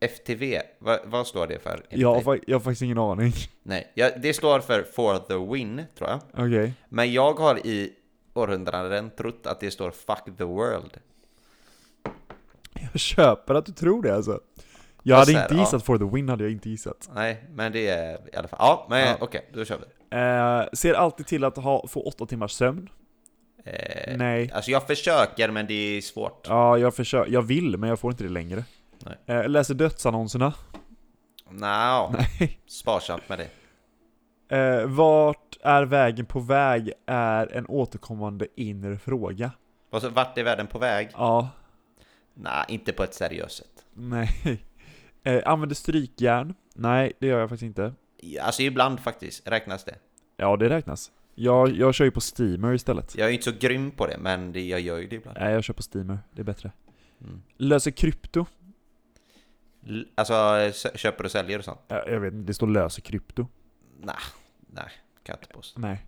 S1: FTV, vad, vad står det för?
S2: Jag har, fa- jag har faktiskt ingen aning.
S1: Nej, ja, det står för For the Win, tror jag.
S2: Okej.
S1: Men jag har i århundraden trott att det står Fuck the World.
S2: Jag köper att du tror det alltså. Jag hade
S1: så här,
S2: inte
S1: ja.
S2: gissat for the win, hade jag inte gissat.
S1: Nej, men det är i alla fall. Ja, men
S2: Ja.
S1: okej, då kör vi.
S2: Eh, ser alltid till att ha, få åtta timmars sömn.
S1: Eh,
S2: Nej.
S1: Alltså jag försöker, men det är svårt.
S2: Ja, jag försöker. Jag vill, men jag får inte det längre.
S1: Nej.
S2: Eh, läser dödsannonserna.
S1: Nja,
S2: Nej.
S1: sparsamt med det.
S2: Eh, vart är vägen på väg är en återkommande inre fråga.
S1: Vad så- Vart är världen på väg?
S2: Ja,
S1: Nej, inte på ett seriöst sätt.
S2: nej. Eh, använder strykjärn? Nej, det gör jag faktiskt inte.
S1: Alltså ibland faktiskt, räknas det.
S2: Ja, det räknas. Jag, jag kör ju på steamer istället.
S1: Jag är ju inte så grym på det, men det, jag gör ju det ibland.
S2: Nej, jag kör på steamer. Det är bättre.
S1: Mm.
S2: Löser krypto?
S1: L- Alltså, sö- köper och säljer och sånt?
S2: Eh, jag vet inte, det står löser krypto.
S1: Nej, nej, kan jag inte påstå.
S2: Nej.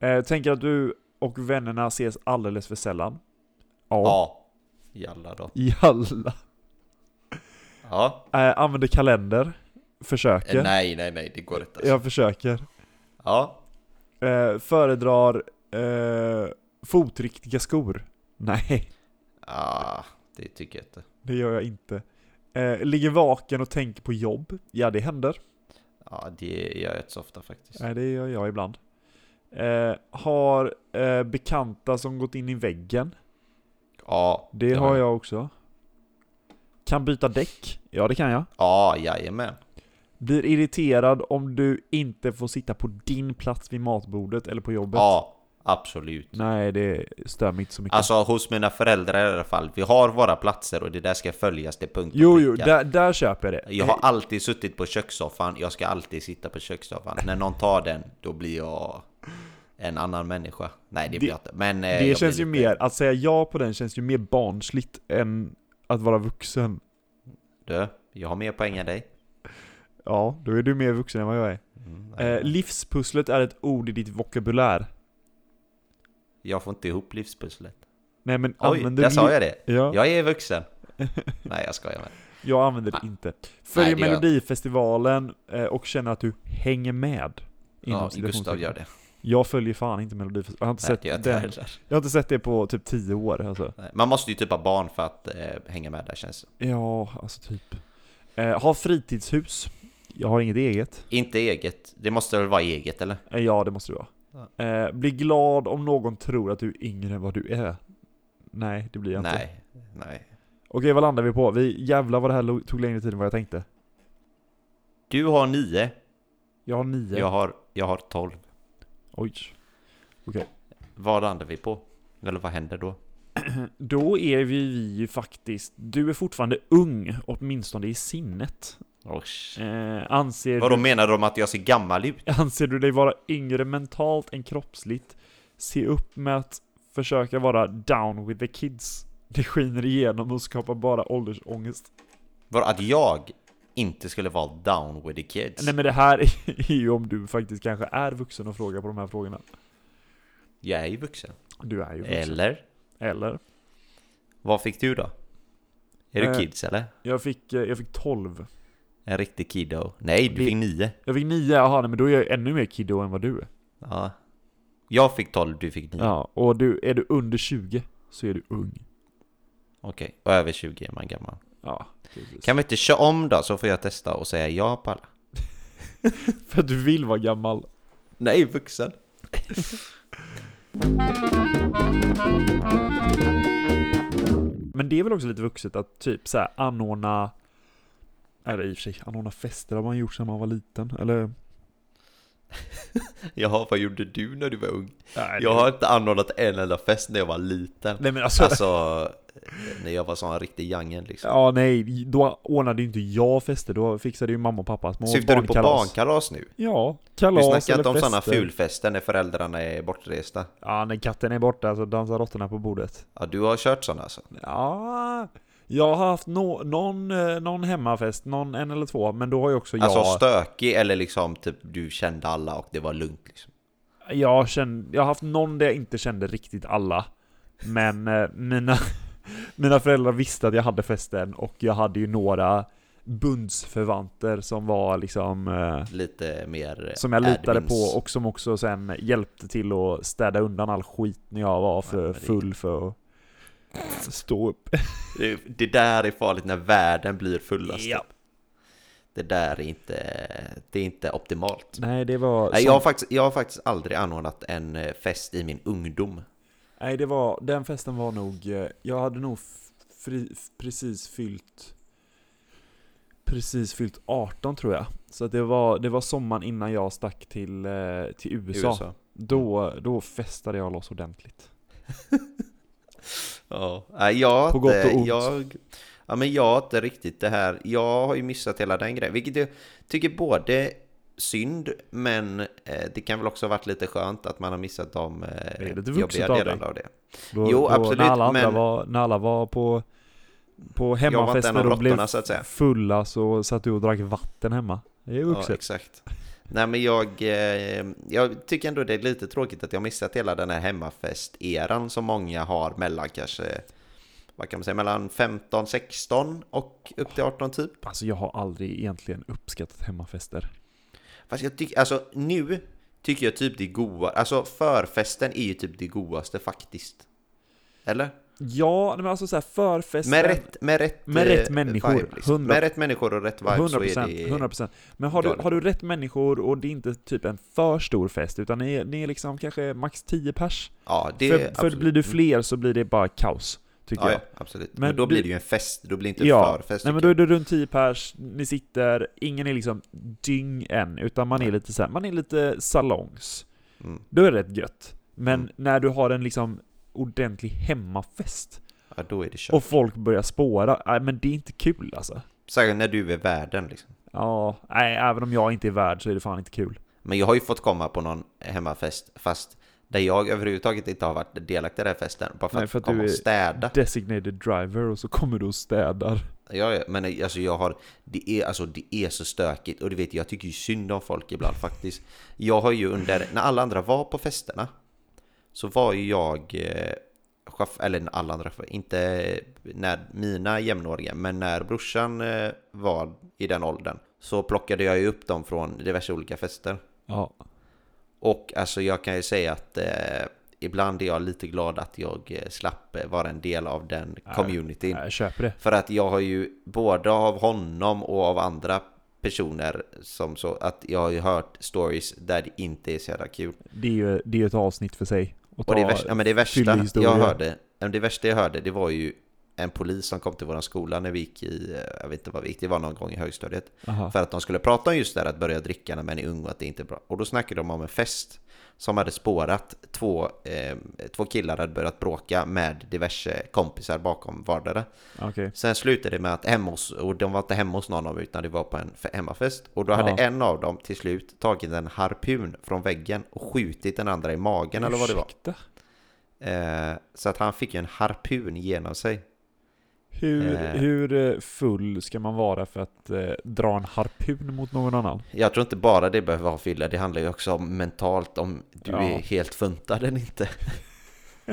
S2: Eh, tänker att du och vännerna ses alldeles för sällan?
S1: Ja. Jalla då.
S2: Jalla.
S1: Ja.
S2: Eh, använder kalender?
S1: Eh,
S2: Försöker?
S1: Nej, nej, nej, det går inte. Alltså.
S2: Jag försöker.
S1: Ja.
S2: Eh, föredrar eh, fotriktiga skor. Nej,
S1: Ah, det tycker jag inte.
S2: det gör jag inte. Eh, ligger vaken och tänker på jobb. Ja, det händer.
S1: Ja, det gör jag inte så ofta faktiskt.
S2: Nej, det gör jag ibland. Eh, har eh, bekanta som gått in i väggen.
S1: Ja.
S2: Det har jag också. Kan byta däck. Ja, det kan jag.
S1: Ja, jajamän.
S2: Blir irriterad om du inte får sitta på din plats vid matbordet eller på jobbet.
S1: Ja, absolut.
S2: Nej, det stör mig inte så mycket.
S1: Alltså hos mina föräldrar i alla fall. Vi har våra platser och det där ska följas till punkt och
S2: jo, jo,
S1: pricka.
S2: där, där köper jag det. Eh,
S1: Jag har alltid suttit på kökssoffan, jag ska alltid sitta på kökssoffan. När någon tar den, då blir jag en annan människa. Nej, det blir jag inte. Men eh, jag blir
S2: Det känns ju
S1: lite-
S2: mer, att säga ja på den känns ju mer barnsligt än att vara vuxen.
S1: Du, jag har mer poäng än dig.
S2: Ja, då är du mer vuxen än vad jag är.
S1: Mm,
S2: eh, livspusslet är ett ord i ditt vokabulär.
S1: Jag får inte ihop livspusslet.
S2: Nej men
S1: Oj,
S2: använder
S1: där
S2: du
S1: sa
S2: li-
S1: jag det.
S2: Ja.
S1: Jag är vuxen. Nej, jag skojar med.
S2: Jag använder det inte.
S1: Ah. det gör
S2: Följ
S1: jag inte.
S2: Melodifestivalen eh, och känner att du hänger med. inom
S1: Ja, Gustav
S2: citationstecken.
S1: gör det.
S2: Jag följer fan inte Melodifestivalen. Jag har inte,
S1: Nej, det gör
S2: sett,
S1: inte jag
S2: den.
S1: heller.
S2: jag har inte sett det på typ 10 år alltså.
S1: Nej, Man måste ju typ ha barn för att eh, hänga med där känns det.
S2: Ja, alltså typ. Eh, ha fritidshus. Jag har inget eget.
S1: Inte eget. Det måste väl vara eget eller?
S2: Eh, ja, det måste du vara. Eh, bli glad om någon tror att du är yngre än vad du är. Nej, det blir jag inte.
S1: Nej. Nej.
S2: Okej, vad landar vi på? Vi jävlar vad det här lo- tog längre tid än vad jag tänkte.
S1: Du har nio.
S2: Jag har nio.
S1: Jag har, jag har tolv.
S2: Oj.
S1: Vad landar vi på? Eller vad händer då?
S2: Då är vi, vi ju faktiskt... Du är fortfarande ung, åtminstone i sinnet.
S1: Osh.
S2: Eh, anser,
S1: Vadå
S2: du,
S1: menar de att jag ser gammal ut?
S2: anser du dig vara yngre mentalt än kroppsligt? Se upp med att försöka vara down with the kids. Det skiner igenom och skapar bara åldersångest.
S1: Vadå att jag inte skulle vara down with the kids?
S2: Nej men det här är ju om du faktiskt kanske är vuxen och frågar på de här frågorna.
S1: Jag är ju vuxen.
S2: Du är ju vuxen.
S1: Eller?
S2: Eller?
S1: Vad fick du då? Är du
S2: Eh.
S1: kids eller?
S2: Jag fick, eh, jag fick 12.
S1: En riktig kiddo? Nej, du
S2: Det-
S1: fick nio.
S2: Jag fick 9, jaha nej, men då är jag ännu mer kiddo än vad du är.
S1: Ja. Jag fick 12, du fick 9.
S2: Ja, och du, är du under 20 så är du ung.
S1: Okej, och över 20 är man gammal.
S2: Ja, precis.
S1: Kan vi inte köra om då så får jag testa och säga ja på alla?
S2: För att du vill vara gammal.
S1: Nej, vuxen.
S2: Men det är väl också lite vuxet att typ så här anordna... Eller i och för sig, anordna fester har man gjort sedan man var liten, eller?
S1: Jaha, vad gjorde du när du var ung?
S2: Nej,
S1: Jag har inte anordnat en enda fest när jag var liten.
S2: Nej men alltså...
S1: Alltså, när jag var sån riktig jangel liksom.
S2: Ja nej, då ordnade ju inte jag fester, då fixade ju mamma och pappa små
S1: Syftar du på
S2: barnkalas.
S1: barnkalas nu?
S2: Ja,
S1: Du
S2: kalas
S1: snackar
S2: eller
S1: inte om
S2: fester.
S1: sådana fulfester när föräldrarna är bortresta?
S2: Ja, när katten är borta så dansar råttorna på bordet.
S1: Ja, du har kört sådana alltså?
S2: Ja, jag har haft no, någon, eh, någon hemmafest, någon en eller två, men då har ju också jag...
S1: Alltså stökig eller liksom typ du kände alla och det var lugnt liksom?
S2: Jag, kände, jag har haft någon där jag inte kände riktigt alla. Men eh, mina, mina föräldrar visste att jag hade festen och jag hade ju några bundsförvanter som var liksom eh,
S1: Lite mer
S2: som jag litade
S1: admins.
S2: på och som också sen hjälpte till att städa undan all skit när jag var för
S1: men det-
S2: full för att stå upp.
S1: Det, det där är farligt när världen blir fullast. typ.
S2: Ja.
S1: Det där är inte, det är inte optimalt.
S2: Nej, det var...
S1: Nej, jag, har faktiskt, jag har faktiskt aldrig anordnat en eh, fest i min ungdom.
S2: Nej, det var, den festen var nog, eh, jag hade nog f- fri, f- precis fyllt Precis fyllt 18 tror jag. Så att det var, det var sommaren innan jag stack till, eh, till
S1: i
S2: USA. Då, då festade jag loss ordentligt.
S1: Ja, nej, jag har
S2: På gott
S1: inte-
S2: och ont.
S1: Jag, ja, men jag har inte riktigt det här. Jag har ju missat hela den grejen, vilket jag tycker både synd, men eh, det kan väl också ha varit lite skönt att man har missat de eh,
S2: är lite vuxet
S1: jobbiga
S2: av dig.
S1: delarna av det.
S2: Då,
S1: Jo,
S2: då,
S1: absolut,
S2: när alla, andra
S1: men-
S2: var, när alla var på, på
S1: en av
S2: hemmafester och blev
S1: råttorna, så att säga.
S2: fulla så satt du och drack vatten hemma. Det är
S1: Ja,
S2: vuxet.
S1: exakt. Nej, men jag, eh, jag tycker ändå det är lite tråkigt att jag missat hela den här hemmafest-eran som många har mellan kanske, vad kan man säga, mellan 15, 16 och upp till 18 typ.
S2: alltså jag har aldrig egentligen uppskattat hemmafester.
S1: Fast jag tycker, alltså nu tycker jag typ det är goa, alltså förfesten är ju typ det godaste faktiskt. Eller?
S2: Ja, nej, men alltså såhär förfesten.
S1: Med rätt, med rätt,
S2: Med rätt
S1: eh,
S2: människor,
S1: vibe, liksom.
S2: 100
S1: Med rätt människor och rätt vibe så
S2: 100%,
S1: är det...
S2: 100%. Men har du,
S1: galet.
S2: har du rätt människor och det är inte typ en för stor fest, utan ni är, ni är liksom kanske max 10 pers.
S1: Ja, det
S2: för, för
S1: absolut. mm.
S2: blir du fler så blir det bara kaos, tycker
S1: ja,
S2: jag.
S1: ja, absolut. Men,
S2: Men
S1: då
S2: du-
S1: blir det ju en fest, då blir det inte förfest.
S2: nej men
S1: tycker
S2: då
S1: jag.
S2: är du runt 10 pers, ni sitter, ingen är liksom dyng än, utan man är lite så här, man är lite salongs.
S1: Mm.
S2: Då är det rätt gött. Men
S1: Mm.
S2: när du har en liksom ordentlig hemmafest
S1: Ja, då är det kört.
S2: och folk börjar spåra, nej men det är inte kul alltså.
S1: Särskilt när du är värden liksom.
S2: Ja, nej, även om jag inte är värd så är det fan inte kul.
S1: Men jag har ju fått komma på någon hemmafest, fast där jag överhuvudtaget inte har varit delaktig i den här festen. Bara för
S2: Nej,
S1: att,
S2: för att
S1: komma
S2: du
S1: och
S2: är-
S1: städa. Mm.
S2: Designated driver och så kommer du och städar.
S1: Ja, ja, men alltså jag har, det är, alltså det är så stökigt och du vet jag tycker ju synd om folk ibland faktiskt. Jag har ju under, när alla andra var på festerna, så var ju jag eh, chauff- eller alla andra chaufförer, inte eh, när mina jämnåriga, men när brorsan eh, var i den åldern så plockade jag ju upp dem från diverse olika fester.
S2: Ja.
S1: Och alltså jag kan ju säga att eh, ibland är jag lite glad att jag eh, slapp eh, vara en del av den communityn.
S2: Jag köper det.
S1: För att jag har ju både av honom och av andra personer som så att jag har ju hört stories där det inte är så jävla kul.
S2: Det är ju det är ju ett avsnitt för sig.
S1: Och det, värsta, ja, men det
S2: fyllig
S1: värsta
S2: historia.
S1: jag hörde, ja, men det värsta jag hörde det var ju en polis som kom till våran skola när vi gick i, eh, jag vet inte vad vi gick, det var någon gång i högstadiet.
S2: Aha.
S1: För att de skulle prata om just det här att börja dricka när man är ung och att det inte är bra. Och då snackade de om en fest som hade spårat två, eh, två killar hade börjat bråka med diverse kompisar bakom vardera.
S2: Okej.
S1: Sen slutade det med att hemma hos, och de var inte hemma hos någon av dem utan det var på en f- hemmafest. Och då hade
S2: Ja.
S1: en av dem till slut tagit en harpun från väggen och skjutit den andra i magen eller vad det var.
S2: Ursäkta?
S1: Eh, så att han fick ju en harpun genom sig.
S2: Hur,
S1: Eh.
S2: hur eh, full ska man vara för att eh, dra en harpun mot någon annan?
S1: Jag tror inte bara det behöver vara fylla, det handlar ju också om mentalt om du
S2: Ja.
S1: är helt funtad eller inte.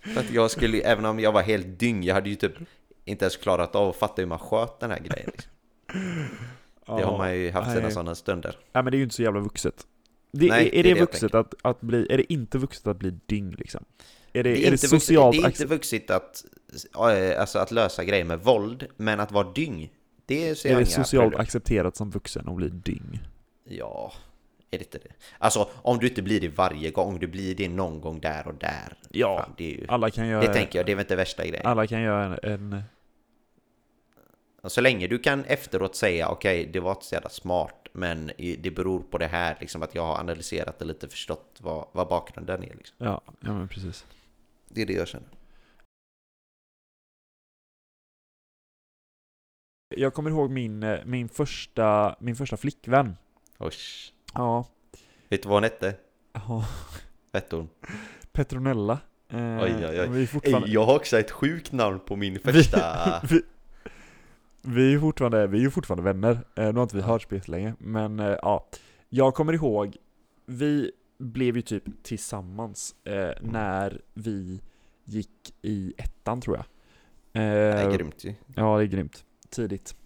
S1: För att jag skulle, även om jag var helt dyng, jag hade ju typ inte ens klarat av att fatta hur man sköt den här grejen. Liksom. Det har man ju haft sina
S2: nej.
S1: sådana stunder.
S2: Nej men det är ju inte så jävla vuxet. Det,
S1: Nej,
S2: är,
S1: det
S2: är
S1: är
S2: det,
S1: det jag
S2: vuxet att, att bli, är det inte vuxet att bli dyng liksom? Är det,
S1: Det
S2: är
S1: är,
S2: det
S1: inte vuxet-
S2: socialt
S1: det är inte
S2: accept-
S1: vuxit att, eh, alltså att lösa grejer med våld, men att vara dyng, det ser
S2: är
S1: jag
S2: det
S1: inga
S2: socialt
S1: problem.
S2: accepterat som vuxen att bli dyng?
S1: Ja, är det inte det? Alltså om du inte blir det varje gång, du blir det någon gång där och där.
S2: Ja,
S1: Fan, det är ju...
S2: alla kan göra,
S1: Det tänker jag, det är väl inte värsta grejen.
S2: alla kan göra en, en
S1: Så länge du kan efteråt säga okej, det var inte så jävla smart, men i- det beror på det här, liksom att jag har analyserat det lite, förstått vad, vad bakgrunden är. Liksom.
S2: ja, ja men precis.
S1: Det är det jag känner.
S2: Jag kommer ihåg min, eh, min, första, min första flickvän.
S1: Usch.
S2: Ja.
S1: Vet du vad hon hette?
S2: ja.
S1: Vet hon?
S2: Petronella. Eh,
S1: Oj, oj, oj.
S2: Vi är fortfarande,
S1: Jag har också ett sjukt namn på min
S2: första- vi, vi, är fortfarande, vi är ju fortfarande vänner. Eh, nu har inte vi hörts på länge, men eh, ja. Jag kommer ihåg, vi blev ju typ tillsammans
S1: Mm.
S2: eh, när vi gick i ettan tror jag.
S1: det
S2: Eh,
S1: är grymt ju.
S2: Ja, det är grymt. Tidigt.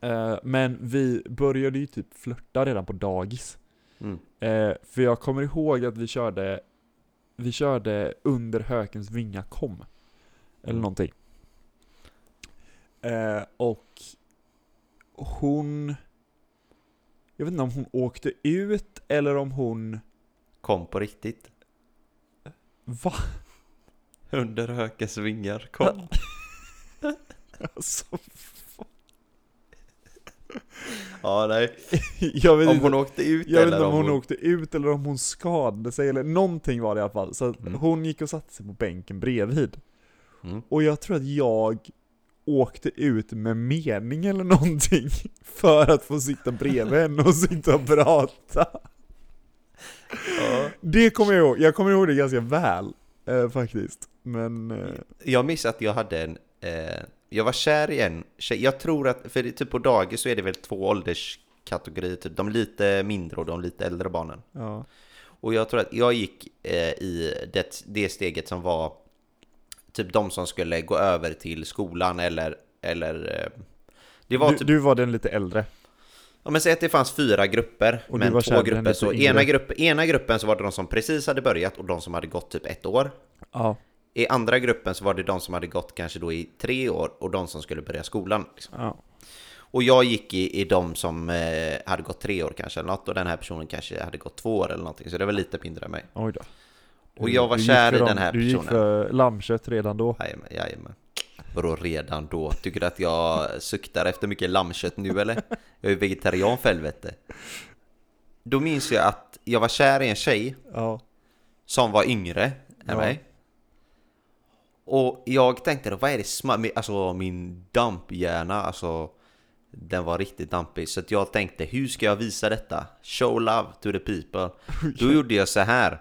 S2: Eh, men vi började ju typ flörta redan på dagis.
S1: Mm.
S2: Eh, för jag kommer ihåg att vi körde Vi körde Under hökens vinga kom.
S1: Mm.
S2: Eller någonting. Eh, och hon Jag vet inte om hon åkte ut eller om hon
S1: Kom på riktigt.
S2: Va?
S1: Under hökens vingar, kom.
S2: Alltså,
S1: ja, nej.
S2: jag vet
S1: Om
S2: inte.
S1: hon åkte ut
S2: Jag vet
S1: eller
S2: inte om hon, åkte ut eller om hon skadade sig eller någonting var det i alla fall. Så att
S1: Mm.
S2: hon gick och satte sig på bänken bredvid.
S1: Mm.
S2: Och jag tror att jag åkte ut med mening eller någonting för att få sitta bredvid henne och sitta och prata.
S1: Ja.
S2: Det kommer jag ihåg, jag kommer ihåg det ganska väl eh, faktiskt. Men... Eh,
S1: Jag minns att jag hade en... Eh, jag var kär i en tjej. Jag tror att... För det, typ på dagis så är det väl två ålderskategorier. Typ. De lite mindre och de lite äldre barnen.
S2: ja.
S1: Och jag tror att jag gick eh, i det, det steget som var... Typ de som skulle gå över till skolan eller... eller eh, det var
S2: Du,
S1: typ
S2: du var den lite äldre.
S1: Ja men säg att det fanns fyra grupper,
S2: Och du var
S1: men
S2: kär i
S1: två
S2: den
S1: grupper.
S2: lite
S1: Så
S2: yngre.
S1: ena, grupp, ena gruppen så var det de som precis hade börjat och de som hade gått typ ett år.
S2: Ja.
S1: I andra gruppen så var det de som hade gått kanske då i tre år och de som skulle börja skolan. Liksom.
S2: ja.
S1: Och jag gick i, i de som eh, hade gått tre år kanske eller något och den här personen kanske hade gått två år eller någonting. Så det var lite mindre än mig.
S2: Oj då.
S1: Och
S2: Du-
S1: jag var
S2: du gick
S1: kär
S2: för
S1: i
S2: dem-
S1: den här
S2: Du gick
S1: personen.
S2: för lammkött redan då.
S1: Jajamän, jajamän. Vadå redan då? Tycker du att jag suktar efter mycket lammkött nu eller? Jag är ju vegetarian för helvete. Då minns jag att jag var kär i en tjej
S2: Ja.
S1: som var yngre än
S2: Ja.
S1: mig. Och jag tänkte då, vad är det smart? Alltså min damphjärna, alltså den var riktigt dampig. Så att jag tänkte, hur ska jag visa detta? Show love to the people. Då gjorde jag så här.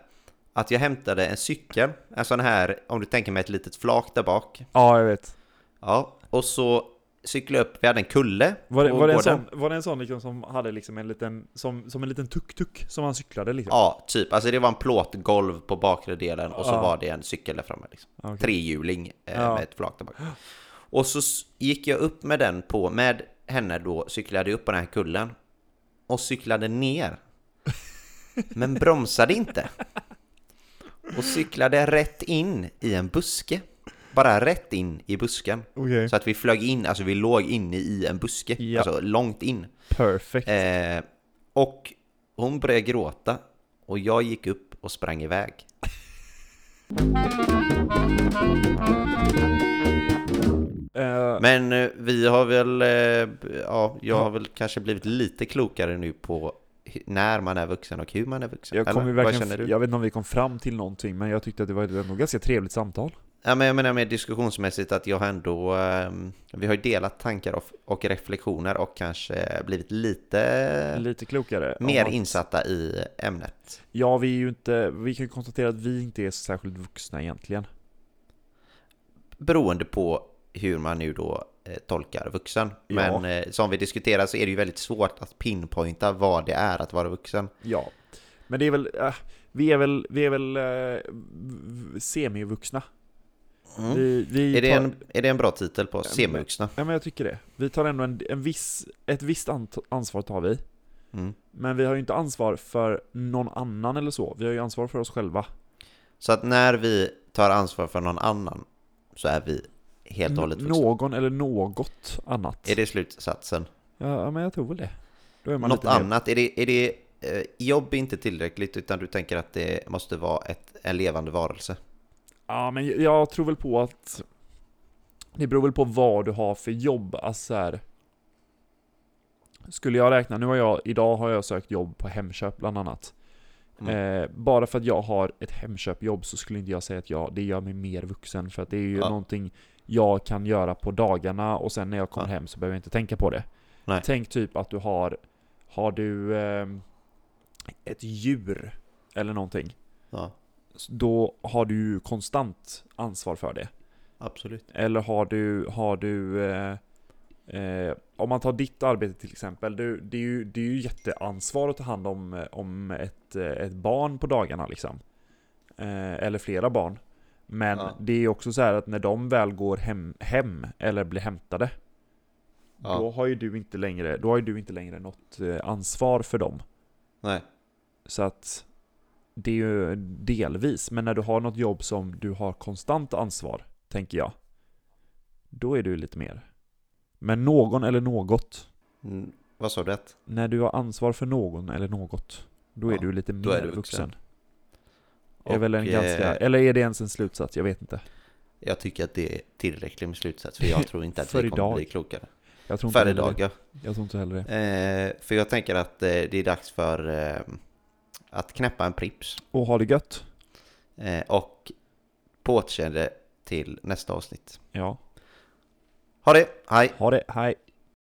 S1: Att jag hämtade en cykel, en sån här, om du tänker mig ett litet flak där bak.
S2: Ja, jag vet.
S1: Ja, och så cykla upp, vi hade en kulle
S2: Var det,
S1: på
S2: var det, en,
S1: gården.
S2: sån, var det en sån liksom som hade liksom en liten, som, som en liten tuk-tuk som han cyklade liksom?
S1: Ja, typ. Alltså det var en plåtgolv på bakre delen och så
S2: Ja.
S1: var det en cykel där framme. Liksom.
S2: Okej.
S1: Trehjuling eh,
S2: Ja.
S1: med ett flak där bak. Och så s- gick jag upp med den på, med henne då, cyklade jag upp på den här kullen. Och cyklade ner. Men bromsade inte. Och cyklade rätt in i en buske. Bara rätt in i busken.
S2: Okej.
S1: Så att vi flög in, alltså vi låg inne i en buske.
S2: Ja.
S1: Alltså långt in.
S2: Perfect.
S1: Eh, och hon började gråta och jag gick upp och sprang iväg.
S2: Eh,
S1: Men eh, vi har väl, eh, ja, jag har väl kanske blivit lite klokare nu på hu- när man är vuxen och hur man är vuxen.
S2: jag, kom ju
S1: Vad
S2: verkligen,
S1: känner du?
S2: jag vet inte om vi kom fram till någonting, men jag tyckte att det var ett ändå ganska trevligt samtal.
S1: Ja, men jag menar med diskussionsmässigt att jag har ändå, eh, vi har ju delat tankar och, och reflektioner och kanske blivit lite
S2: Lite klokare. om
S1: mer
S2: man-
S1: insatta i ämnet.
S2: Ja, vi är ju inte, vi kan ju konstatera att vi inte är särskilt vuxna egentligen.
S1: Beroende på hur man nu då eh, tolkar vuxen.
S2: Ja.
S1: Men eh, som vi diskuterar så är det ju väldigt svårt att pinpointa vad det är att vara vuxen.
S2: Ja. Men det är väl, eh, vi är väl, vi är väl eh, v- semivuxna.
S1: Mm.
S2: Vi, vi
S1: Är, det
S2: tar-
S1: en, är det en bra titel på semivuxna?
S2: Ja men jag tycker det. Vi tar ändå en, en viss, ett visst ant- ansvar tar vi.
S1: Mm.
S2: Men vi har ju inte ansvar för någon annan eller så. Vi har ju ansvar för oss själva.
S1: Så att när vi tar ansvar för någon annan så är vi helt och hållet
S2: N-
S1: vuxna.
S2: någon eller något annat.
S1: Är det slutsatsen?
S2: Ja, ja, men jag tror väl det. Då är man
S1: Något
S2: lite mer-
S1: annat? Är det, är det eh, jobb är inte tillräckligt utan du tänker att det måste vara ett, en levande varelse?
S2: Ja, men jag- jag tror väl på att det beror väl på vad du har för jobb. Alltså så här, skulle jag räkna, nu har jag, idag har jag sökt jobb på Hemköp bland annat.
S1: Mm.
S2: Eh, bara för att jag har ett Hemköpjobb så skulle inte jag säga att jag, det gör mig mer vuxen. För att det är ju
S1: Ja.
S2: någonting jag kan göra på dagarna och sen när jag kommer
S1: Ja.
S2: hem så behöver jag inte tänka på det.
S1: Nej.
S2: Tänk typ att du har, har du ehm, ett djur eller någonting
S1: Ja,
S2: då har du ju konstant ansvar för det.
S1: absolut.
S2: Eller har du, har du eh, eh, om man tar ditt arbete till exempel, du, det, är ju, det är ju jätteansvar att ta hand om, eh, om ett, eh, ett barn på dagarna liksom. Eh, eller flera barn. Men
S1: Ja.
S2: det är ju också så här att när de väl går hem, hem eller blir hämtade,
S1: Ja.
S2: då har ju du inte längre, då har ju du inte längre något eh, ansvar för dem.
S1: Nej.
S2: Så att det är ju delvis, men när du har något jobb som du har konstant ansvar, tänker jag, då är du lite mer. Men någon eller något,
S1: Mm, vad sa du? Att?
S2: när du har ansvar för någon eller något, då är
S1: Ja,
S2: du lite mer
S1: då är du
S2: vuxen.
S1: vuxen.
S2: Är väl en
S1: Och,
S2: ganska,
S1: eh,
S2: eller är det ens en slutsats? Jag vet inte.
S1: Jag tycker att det är tillräckligt med slutsats för jag tror inte att
S2: För
S1: vi kommer
S2: idag.
S1: bli klokare.
S2: Jag tror inte
S1: För
S2: heller
S1: idag,
S2: det.
S1: ja.
S2: Jag tror inte heller det.
S1: Eh, för jag tänker att eh, det är dags för eh, att knäppa en prips.
S2: Och ha det gött.
S1: Eh, och på återseende till nästa avsnitt.
S2: Ja.
S1: Ha det, hej!
S2: Ha det, hej.